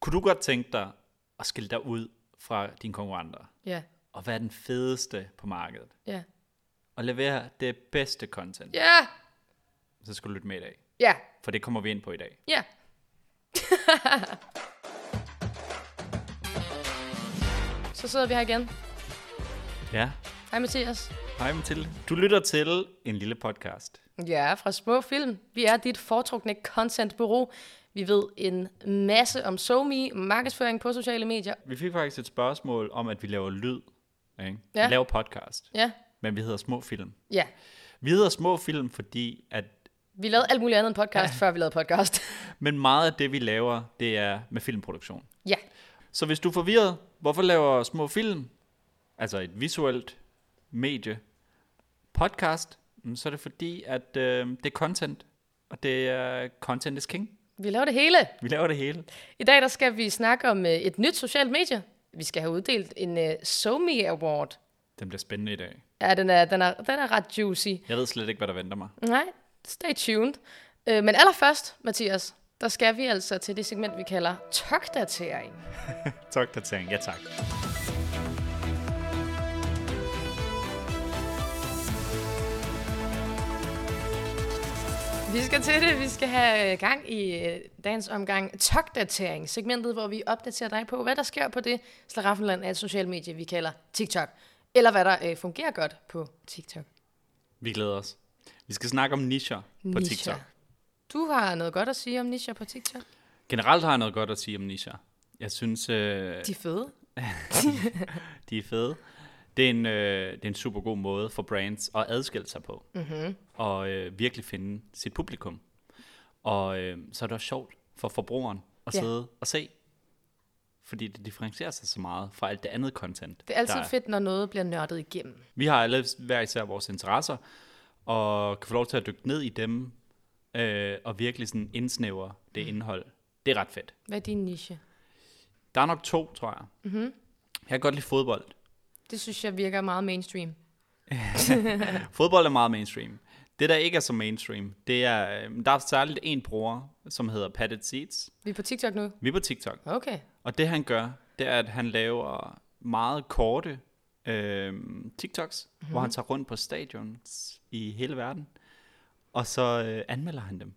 Kunne du godt tænke dig at skille dig ud fra dine konkurrenter Ja, og være den fedeste på markedet ja. og levere det bedste content, Ja, så skal du lytte med i dag. ja, For det kommer vi ind på i dag. ja. Så sidder vi her igen. Ja. Hej Mathias. Hej Mathilde. Du lytter til en lille podcast. Ja, fra små film. Vi er dit foretrukne contentbureau. Vi ved en masse om SoMe, markedsføring på sociale medier. Vi fik faktisk et spørgsmål om, at vi laver lyd. Ikke? Ja. Vi laver podcast, Ja, men vi hedder Små Film. ja. Vi hedder Små Film, fordi at Vi lavede alt muligt andet end podcast, ja. før vi lavede podcast. men meget af det, vi laver, det er med filmproduktion. ja, Så hvis du er forvirret, hvorfor laver små film, altså et visuelt medie, podcast, mm, så er det fordi, at øh, det er content, og det er content is king. vi laver det hele. Vi laver det hele. I dag der skal vi snakke om øh, et nyt socialt medie. Vi skal have uddelt en øh, SoMe Award. Den bliver spændende i dag. Ja, den er, den er, den er ret juicy. Jeg ved slet ikke, hvad der venter mig. Nej, stay tuned. Øh, men allerførst, Mathias, der skal vi altså til det segment, vi kalder togdatering. Tak, der tænker. Ja, tak. Vi skal til det. Vi skal have øh, gang i øh, dagens omgang togdatering. Segmentet, hvor vi opdaterer dig på, hvad der sker på det slaraffenland af et socialt medie, vi kalder TikTok. Eller hvad der øh, fungerer godt på TikTok. Vi glæder os. Vi skal snakke om nischer på Nischer. TikTok. Du har noget godt at sige om nischer på TikTok. Generelt har jeg noget godt at sige om nischer. Jeg synes, øh, De er fede. De er fede. Det er, en, øh, det er en super god måde for brands at adskille sig på. Mhm. Mm-hmm. Og øh, virkelig finde sit publikum. Og øh, så er det også sjovt for forbrugeren at Ja. ja. sidde og se. Fordi det differencierer sig så meget fra alt det andet content. Det er altid der fedt, når noget bliver nørdet igennem. Vi har alle hver især vores interesser. Og kan få lov til at dykke ned i dem. Øh, og virkelig sådan indsnævre det Mhm. mm. indhold. Det er ret fedt. Hvad er din niche? Der er nok to, tror jeg. Mm-hmm. Mhm. Jeg kan godt lide fodbold. Det synes jeg virker meget mainstream. Fodbold er meget mainstream. Det, der ikke er så mainstream, det er, øhm, der er særligt en bruger, som hedder Padded Seats. Vi er på TikTok nu. Vi er på TikTok. Okay. Og det, han gør, det er, at han laver meget korte øhm, TikToks, mm-hmm. hvor han tager rundt på stadions i hele verden. Og så øh, anmelder han dem.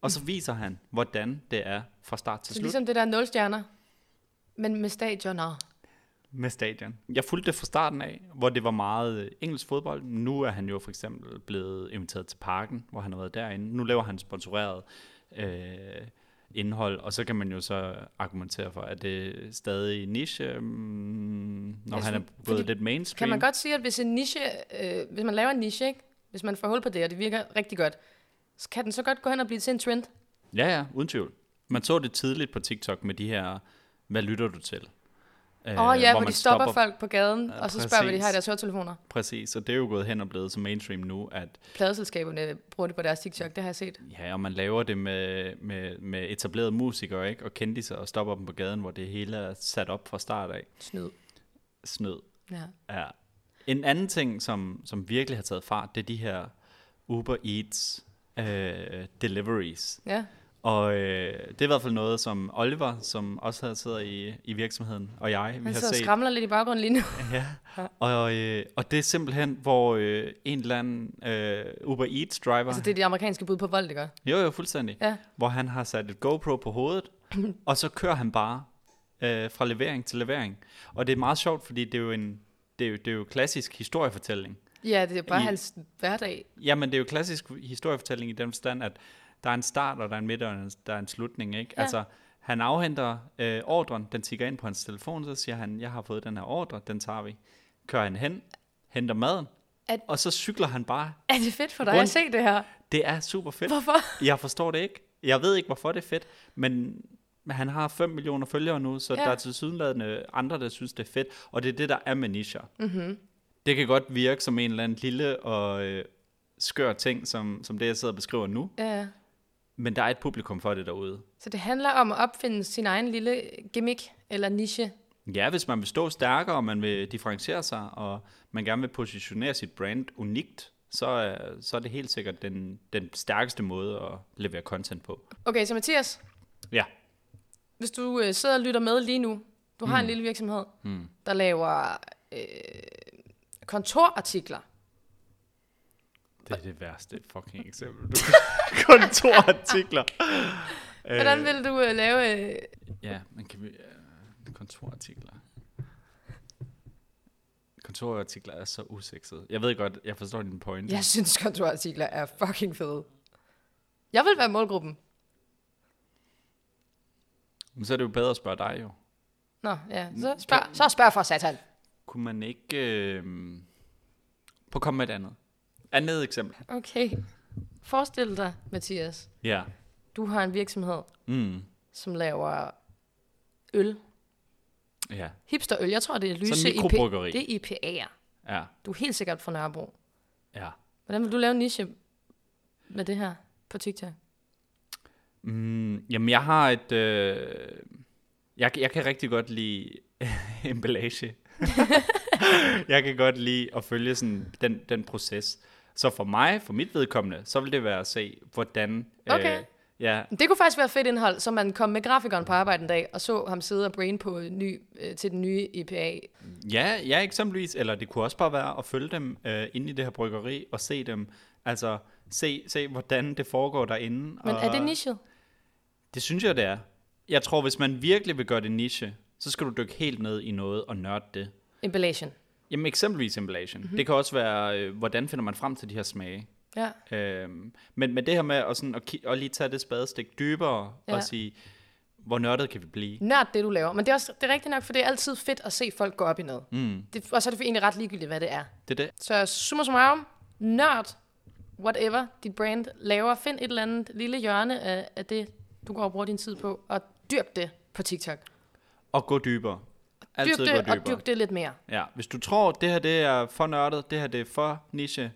Og så viser han, hvordan det er fra start til Så slut ligesom det der nulstjerner, men med stadioner. med stadion. Jeg fulgte det fra starten af, hvor det var meget øh, engelsk fodbold. Nu er han jo for eksempel blevet inviteret til parken, hvor han har været derinde. Nu laver han sponsoreret øh, indhold, og så kan man jo så argumentere for, at det stadig niche, mm, når Altså, han er fordi- blevet lidt mainstream. Kan man godt sige, at hvis, en niche, øh, hvis man laver en niche, ikke? hvis man får hul på det, og det virker rigtig godt, så kan den så godt gå hen og blive til en trend. Ja, ja, uden tvivl. Man så det tidligt på TikTok med de her, hvad lytter du til? Åh Åh øh, ja, hvor, de stopper, folk på gaden, ja, Ja, og så spørger, hvad de præcis. har i deres høretelefoner. Præcis, og det er jo gået hen og blevet så mainstream nu, at Pladeselskaberne bruger det på deres TikTok, det har jeg set. Ja, og man laver det med, med, med etablerede musikere, ikke? Og kendte og stopper dem på gaden, hvor det hele er sat op fra start af. Snyd. Snød. Ja. Ja. En anden ting, som, som virkelig har taget fart, det er de her Uber Eats øh, deliveries. ja. Og øh, det er i hvert fald noget, som Oliver, som også har sidder i, i virksomheden, og jeg, vi Han har sidder og set. skramler lidt i baggrunden lige nu. Ja. Og, øh, og det er simpelthen, hvor øh, en eller anden øh, Uber Eats driver... altså, det er det amerikanske bud på vold, det gør. Jo, jo, fuldstændig. Ja. Hvor han har sat et GoPro på hovedet, og så kører han bare øh, fra levering til levering. Og det er meget sjovt, fordi det er jo en det er jo, det er jo klassisk historiefortælling. Ja, det er bare I- hans hverdag. Jamen, det er jo klassisk historiefortælling i den forstand, at der er en start, og der er en midt, og en- der er en slutning. Ikke? Ja. Altså, han afhenter øh, ordren, den tigger ind på hans telefon, så siger han, jeg har fået den her ordre, den tager vi. Kører han hen, henter maden, At- og så cykler han bare. Er det fedt for dig Rundt- at se det her? Det er super fedt. Hvorfor? Jeg forstår det ikke. Jeg ved ikke, hvorfor det er fedt, men han har 5 millioner følgere nu, så Ja. ja. der er tilsyneladende andre, der synes, det er fedt, og det er det, der er med nischer. Mm-hmm. Det kan godt virke som en eller anden lille og øh, skør ting, som, som det, jeg sidder og beskriver nu, Ja. men der er et publikum for det derude. Så det handler om at opfinde sin egen lille gimmick eller niche. Ja, hvis man vil stå stærkere, og man vil differentiere sig, og man gerne vil positionere sit brand unikt, så, er- så er det helt sikkert den, den stærkeste måde at levere content på. Okay, så Mathias, Ja, hvis du øh, sidder og lytter med lige nu, du har mm. en lille virksomhed, Mm. der laver øh, kontorartikler. Det er det værste fucking eksempel. Du kan- kontorartikler. Hvordan vil du øh, lave... Øh, Ja, men kan vi... Øh, kontorartikler. Kontorartikler er så usekset. Jeg ved godt, jeg forstår din pointe. jeg synes, kontorartikler er fucking fede. Jeg vil være målgruppen. Men så er det jo bedre at spørge dig jo. Nå, ja. Så Mm. spørg, så spørg for satan. Kunne man ikke... Øh, på komme med et andet. Andet eksempel. Okay. Forestil dig, Mathias, Ja. du har en virksomhed, Mm. som laver øl. Ja. Hipsterøl. Jeg tror, det er lyse Sådan IP. mikrobryggeri. Det er IPA'er. Ja. Du er helt sikkert fra Nørrebro. Ja. Hvordan vil du lave en niche med det her på TikTok? Mm, jamen, jeg har et... Øh, jeg, jeg kan rigtig godt lide emballage. jeg kan godt lide at følge sådan den, den proces. Så for mig, for mit vedkommende, så vil det være at se, hvordan... øh, Okay. ja, Det kunne faktisk være fedt indhold, så man kom med grafikeren på arbejde en dag, og så ham sidde og brain på en ny, øh, til den nye IPA. ja, ja, eksempelvis. Eller det kunne også bare være at følge dem øh, inde i det her bryggeri og se dem. Altså, se, se hvordan det foregår derinde. Men og, er det nichet? Det synes jeg, det er. Jeg tror, hvis man virkelig vil gøre det niche, så skal du dykke helt ned i noget og nørde det. Emballation. Jamen eksempelvis emballagen. Mhm. Mm-hmm. Det kan også være, øh, hvordan finder man frem til de her smage. Ja. Øhm, men, men det her med at, sådan, at, ki- at lige tage det spadestik dybere ja. Ja. og sige, hvor nørdet kan vi blive? Nørd det, du laver. Men det er, også, det er rigtigt nok, for det er altid fedt at se folk gå op i noget. Mm. Det, og så er det egentlig ret ligegyldigt, hvad det er. Det er det. Så summa summarum, nørd, whatever dit brand laver, find et eller andet lille hjørne af, af det, du går og bruger din tid på, og dyrk det på TikTok. Og gå dybere. Dyrk Altid det, gå og dybere. dyrk det lidt mere. Ja, hvis du tror, det her det er for nørdet, det her det er for niche,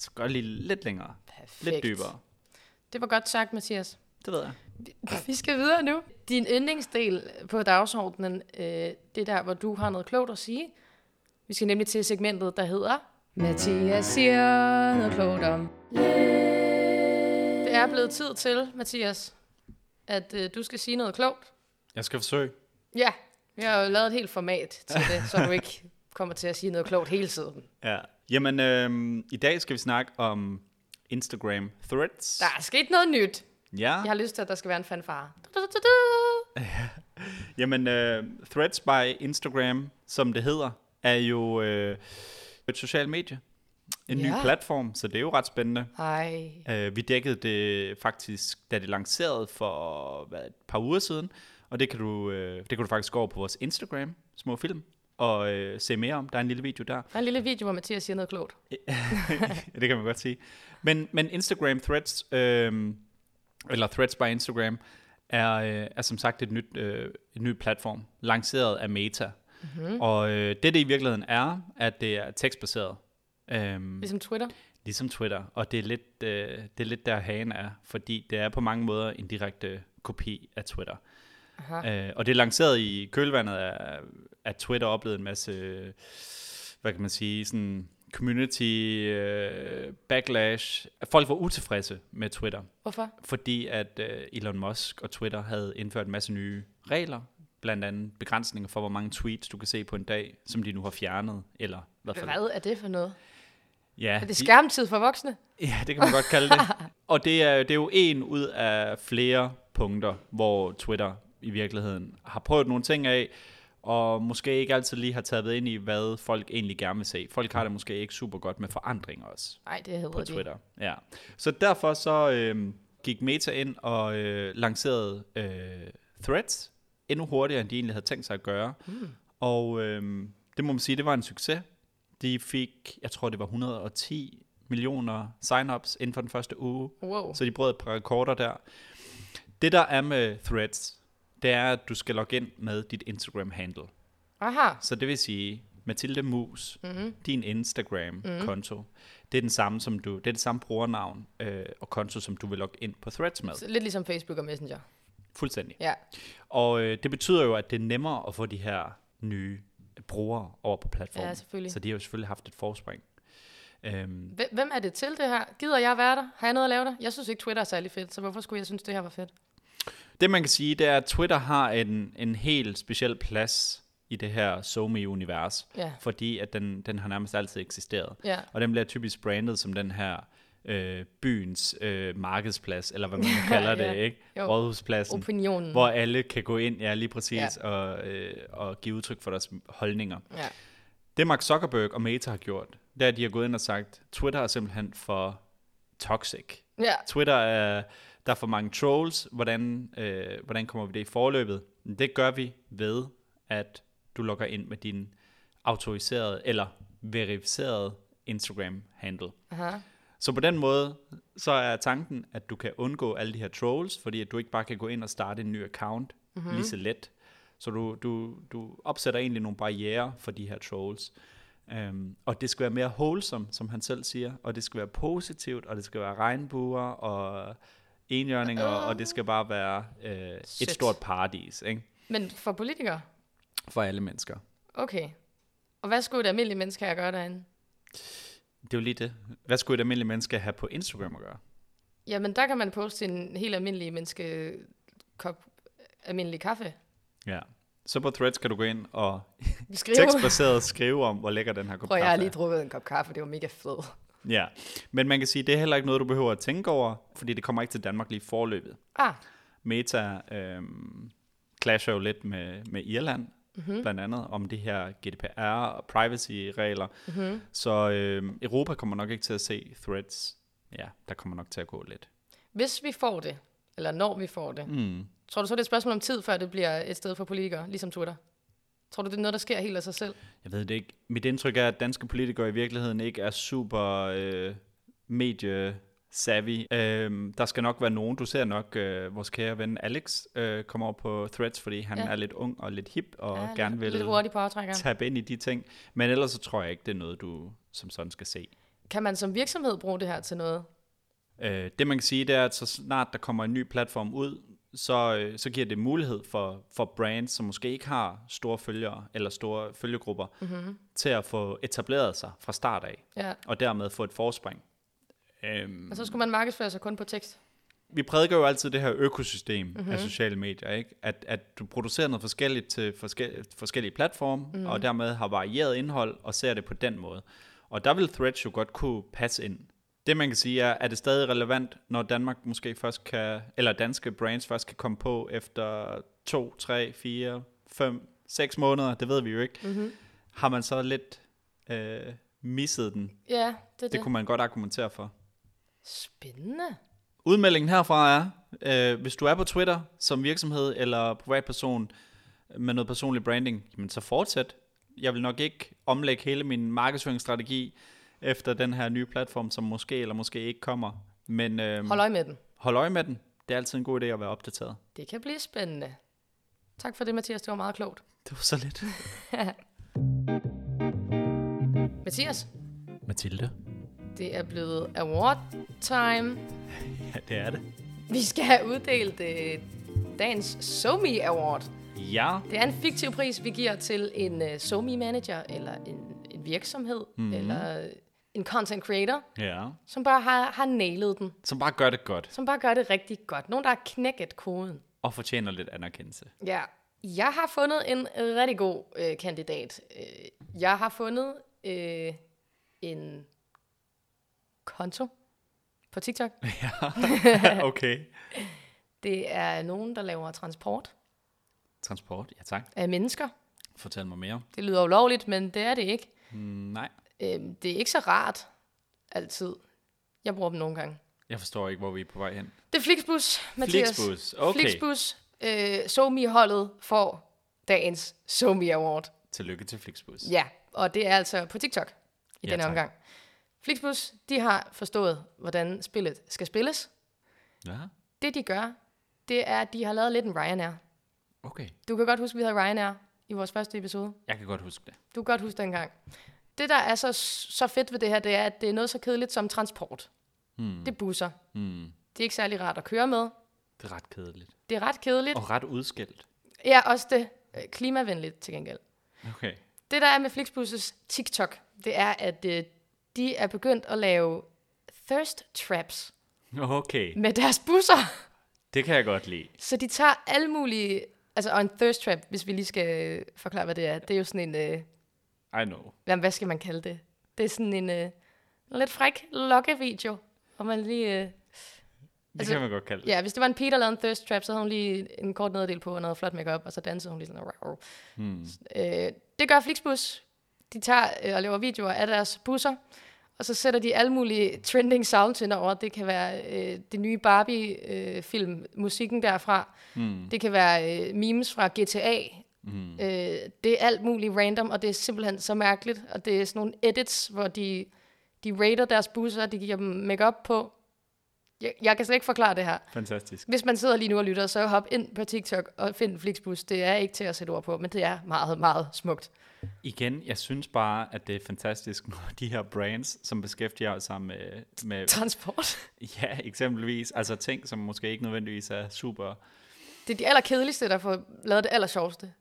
så gør lige lidt længere. Perfekt. Lidt dybere. Det var godt sagt, Mathias. Det ved jeg. Vi skal videre nu. Din yndlingsdel på dagsordenen, øh, det er der, hvor du har noget klogt at sige. Vi skal nemlig til segmentet, der hedder... Mathias siger noget klogt om lidt. Det er blevet tid til, Mathias, at øh, du skal sige noget klogt. Jeg skal forsøge. Ja, vi har jo lavet et helt format til det, så du ikke kommer til at sige noget klogt hele tiden. Ja. Jamen, øhm, i dag skal vi snakke om Instagram Threads. Der er sket noget nyt. Ja. Jeg har lyst til, at der skal være en fanfare. Jamen, øh, Threads by Instagram, som det hedder, er jo øh, et socialt medie. En ja. Ja. ny platform, så det er jo ret spændende. Ej, Øh, vi dækkede det faktisk, da det lancerede for hvad, et par uger siden, og det kan, du, øh, det kan du faktisk gå over på vores Instagram, små film, og øh, se mere om. Der er en lille video der. der er en lille video, hvor Mathias siger noget klogt. Ja, det kan man godt sige. Men, men Instagram Threads, øh, eller Threads by Instagram, er, øh, er som sagt et nyt, øh, en ny platform, lanceret af Meta. Mm-hmm. Og øh, det, det i virkeligheden er, at det er tekstbaseret. Øhm, Ligesom Twitter. ligesom Twitter, og det er, lidt, øh, det er lidt der hagen er, fordi det er på mange måder en direkte kopi af Twitter. Aha. Øh, og det er lanceret i kølvandet af, at Twitter oplevede en masse, øh, hvad kan man sige, sådan community øh, backlash. Folk var utilfredse med Twitter, Hvorfor? fordi at øh, Elon Musk og Twitter havde indført en masse nye regler, blandt andet begrænsninger for, hvor mange tweets du kan se på en dag, som de nu har fjernet, eller i hvert fald... Hvad er det for noget? Ja, Er det de- skærmtid for voksne? Ja, det kan man godt kalde det. Og det er, det er jo en ud af flere punkter, hvor Twitter i virkeligheden har prøvet nogle ting af, og måske ikke altid lige har taget ind i, hvad folk egentlig gerne vil se. Folk har det måske ikke super godt med forandring også Nej, det hedder på det. ikke. Twitter. Ja. Så derfor så øh, gik Meta ind og øh, lancerede øh, Threads endnu hurtigere, end de egentlig havde tænkt sig at gøre. Mm. Og øh, det må man sige, det var en succes. De fik, jeg tror det var 110 millioner signups inden for den første uge, Wow. så de brød et par rekorder der. Det der er med Threads, det er, at du skal logge ind med dit Instagram-handle. Aha. Så det vil sige, Mathilde Mus, mm-hmm. din Instagram-konto, Mm. det er den samme som du, det er det samme brugernavn øh, og konto, som du vil logge ind på Threads med. Så lidt ligesom Facebook og Messenger. Fuldstændig. Ja. Og øh, det betyder jo, at det er nemmere at få de her nye brugere over på platformen. Ja, selvfølgelig. Så de har jo selvfølgelig haft et forspring. Øhm, Hvem- Hvem er det til det her? Gider jeg være der? Har jeg noget at lave der? Jeg synes ikke, Twitter er særlig fedt, så hvorfor skulle jeg synes, det her var fedt? Det man kan sige, det er, at Twitter har en, en helt speciel plads i det her SoMe-univers, Ja. fordi at den, den har nærmest altid eksisteret. Ja. Og den bliver typisk brandet som den her øh, byens øh, markedsplads, eller hvad man nu kalder det, Ja. ikke? Jo. Rådhuspladsen, Opinionen. hvor alle kan gå ind, ja lige præcis, Ja. Og, øh, og give udtryk for deres holdninger. Ja. Det Mark Zuckerberg og Meta har gjort, det er, at de har gået ind og sagt, Twitter er simpelthen for toxic. ja. Twitter er, der er for mange trolls. Hvordan, øh, hvordan kommer vi det i forløbet? Det gør vi ved, at du logger ind med din autoriserede eller verificerede Instagram-handle. Aha. Så på den måde, så er tanken, at du kan undgå alle de her trolls, fordi at du ikke bare kan gå ind og starte en ny account mm-hmm. lige så let. Så du, du, du opsætter egentlig nogle barriere for de her trolls. Um, og det skal være mere wholesome, som han selv siger, og det skal være positivt, og det skal være regnbuer og enhjørninger, og det skal bare være øh, et Sødt. stort paradis ikke? Men for politikere? for alle mennesker. Okay. Og hvad skulle et almindeligt menneske her gøre derinde? Det er jo lige det. Hvad skulle et almindeligt menneske have på Instagram at gøre? Jamen, der kan man poste en helt almindelig menneske kop almindelig kaffe. Ja. Så på Threads kan du gå ind og Skrive. tekstbaseret skrive om, hvor lækker den her kop Prøv, jeg kaffe har er. lige drukket en kop kaffe, det var mega fedt. Ja, men man kan sige, det er heller ikke noget, du behøver at tænke over, fordi det kommer ikke til Danmark lige i forløbet. Ah, Meta øh, clasher jo lidt med, med Irland, Mhm. mm-hmm. blandt andet om det her GDPR og privacy-regler. Mhm. Mm-hmm. Så øh, Europa kommer nok ikke til at se threads. Ja, der kommer nok til at gå lidt. hvis vi får det, eller når vi får det, Mm. tror du så, det er et spørgsmål om tid, før det bliver et sted for politikere, ligesom Twitter? Tror du, det er noget, der sker helt af sig selv? Jeg ved det ikke. Mit indtryk er, at danske politikere i virkeligheden ikke er super øh, medie-savvy. Øh, der skal nok være nogen. Du ser nok øh, vores kære ven Alex øh, komme over på Threads, fordi han Ja. ja. er lidt ung og lidt hip og ja, lidt- gerne vil Lidt hurtigt på aftrækkeren. tabe ind i de ting. Men ellers så tror jeg ikke, det er noget, du som sådan skal se. Kan man som virksomhed bruge det her til noget? Øh, det man kan sige, det er, at så snart der kommer en ny platform ud, så, øh, så giver det mulighed for, for brands, som måske ikke har store følgere eller store følgegrupper, mm-hmm. til at få etableret sig fra start af Ja. og dermed få et forspring. Øhm, Og så skulle man markedsføre sig kun på tekst. vi prædiker jo altid det her økosystem mm-hmm. Mhm. af sociale medier, ikke? At, at du producerer noget forskelligt til forske- forskellige platforme, Mhm. mm-hmm. og dermed har varieret indhold og ser det på den måde. Og der vil Threads jo godt kunne passe ind. Det man kan sige er, er det stadig relevant, når Danmark måske først kan, eller danske brands først kan komme på efter 2, 3, 4, 5, 6 måneder, det ved vi jo ikke. Mm-hmm. Har man så lidt øh, misset den? Ja, det er det. Det kunne man godt argumentere for. Spændende. Udmeldingen herfra er, øh, hvis du er på Twitter som virksomhed eller privatperson med noget personlig branding, jamen så fortsæt. Jeg vil nok ikke omlægge hele min markedsføringsstrategi efter den her nye platform, som måske eller måske ikke kommer. Men øh, Hold øje med den. hold øje med den. Det er altid en god idé at være opdateret. Det kan blive spændende. Tak for det, Mathias. Det var meget klogt. Det var så lidt. Mathias, Mathilde. det er blevet award time. Ja, det er det. Vi skal have uddelt øh, dagens SoMe Award. Ja. Det er en fiktiv pris, vi giver til en øh, SoMe manager, eller en, en virksomhed, mm-hmm. eller en content creator, Ja. som bare har, har nailet den. Som bare gør det godt Som bare gør det rigtig godt. Nogen, der har knækket koden. og fortjener lidt anerkendelse. Ja. Jeg har fundet en rigtig god øh, kandidat. Øh, Jeg har fundet øh, en konto på TikTok. okay. Det er nogen, der laver transport Transport. Ja, tak. af mennesker. Fortæl mig mere. Det lyder ulovligt, men det er det ikke. Mm, nej. Øhm, det er ikke så rart altid. Jeg bruger dem nogle gange. Jeg forstår ikke, hvor vi er på vej hen. Det er Flixbus, Mathias. Flixbus, okay. Flixbus, øh, SoMe-holdet får dagens SoMe Award. Tillykke til Flixbus. Ja, og det er altså på TikTok i Ja, denne tak. omgang. Flixbus, de har forstået, hvordan spillet skal spilles. Ja, Det, de gør, det er, at de har lavet lidt en Ryanair. okay. Du kan godt huske, at vi havde Ryanair i vores første episode. Jeg kan godt huske det. Du kan godt huske dengang. Det, der er så, så fedt ved det her, det er, at det er noget så kedeligt som transport. Hmm. Det er busser. Mm. Det er ikke særlig rart at køre med. Det er ret kedeligt. Det er ret kedeligt. Oh. Og ret udskilt. Ja, også det øh, klimavenligt til gengæld. Okay. Det, der er med Flixbus' TikTok, det er, at øh, de er begyndt at lave thirst traps Okay. med deres busser. Det kan jeg godt lide. Så de tager alle mulige... Altså, og en thirst trap, hvis vi lige skal øh, forklare, hvad det er. Det er jo sådan en... Øh, I know. jamen, hvad skal man kalde det? Det er sådan en øh, lidt fræk lokkevideo, hvor man lige... Øh, Det Altså- altså, kan man godt kalde det. ja, hvis det var en pige, der lavede en thirst trap, så havde hun lige en kort nederdel på og noget flot makeup, og så dansede hun lige sådan... Wow. Hmm. Øh, det gør Flixbus. De tager øh, og laver videoer af deres busser, og så sætter de alle mulige trending sounds ind over. Det kan være øh, det nye Barbie-film, øh, musikken derfra. Hmm. Det kan være øh, memes fra GTA. Hmm. Øh, det er alt muligt random, og det er simpelthen så mærkeligt. Og det er sådan nogle edits, hvor de, de rater deres busser, de giver dem makeup på. Jeg, jeg kan slet ikke forklare det her. Fantastisk. Hvis man sidder lige nu og lytter, så hop ind på TikTok og find Flixbus. Det er ikke til at sætte ord på, men det er meget, meget smukt. Igen, jeg synes bare, at det er fantastisk, når de her brands, som beskæftiger sig med, med Transport. ja, eksempelvis, altså ting, som måske ikke nødvendigvis er super Det er de allerkedeligste, der får lavet det allersjoveste.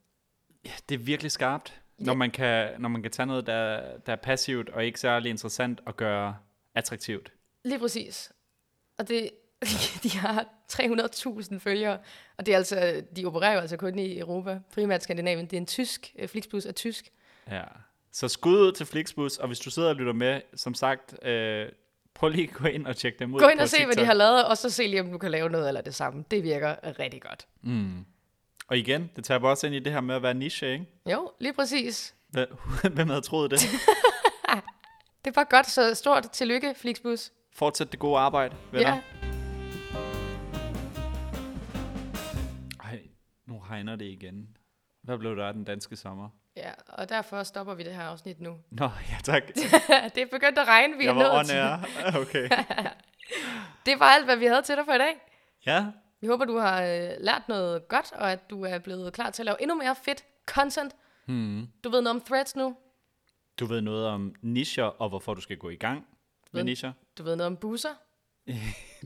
Det er virkelig skarpt, Ja. når, man kan, når man kan tage noget, der, der er passivt og ikke særlig interessant og gøre attraktivt. Lige præcis. Og det, de har 300.000 følgere, og det er altså, de opererer jo altså kun i Europa, primært Skandinavien. Det er en tysk, øh, Flixbus er tysk. Ja. Så skud ud til Flixbus, og hvis du sidder og lytter med, som sagt, øh, prøv lige at gå ind og tjek dem ud Gå ind på og se, hvad de TikTok. har lavet, og så se lige, om du kan lave noget eller det samme. Det virker rigtig godt. Mm. Og igen, det tager også ind i det her med at være niche, ikke? Jo, lige præcis. Hva- Hvem havde troet det? Det var godt, så stort tillykke, Flixbus. Fortsæt det gode arbejde, venner. Ja, Ja. Ej, nu regner det igen. Hvad blev der af den danske sommer? ja, og derfor stopper vi det her afsnit nu. Nå, ja tak. det er begyndt at regne, vi Jeg er var on nødt til. air. Okay. Det var alt, hvad vi havde til dig for i dag. Ja, Vi håber, du har øh, lært noget godt, og at du er blevet klar til at lave endnu mere fedt content. hmm. Du ved noget om threads nu. Du ved noget om nischer og hvorfor du skal gå i gang med Ved- nischer. Du ved noget om busser.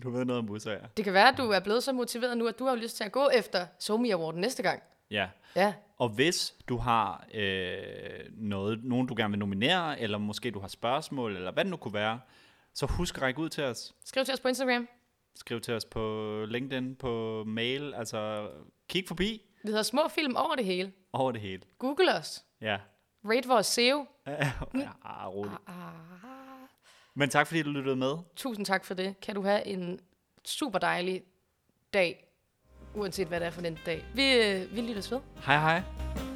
Du ved noget om busser, ja. Det kan være, at du er blevet så motiveret nu, at du har lyst til at gå efter Somi Award næste gang. ja. Ja, Og hvis du har øh, noget, nogen, du gerne vil nominere, eller måske du har spørgsmål, eller hvad det nu kunne være, så husk at række ud til os. skriv til os på Instagram. Skriv til os på LinkedIn, på mail, altså kig forbi Vi hedder Små Film over det hele. over det hele. Google os. Ja. Rate vores SEO. ja, roligt. Ah, Men tak fordi du lyttede med. tusind tak for det. Kan du have en super dejlig dag, uanset hvad det er for den dag. Vi, øh, vi lyttes ved. Hej hej.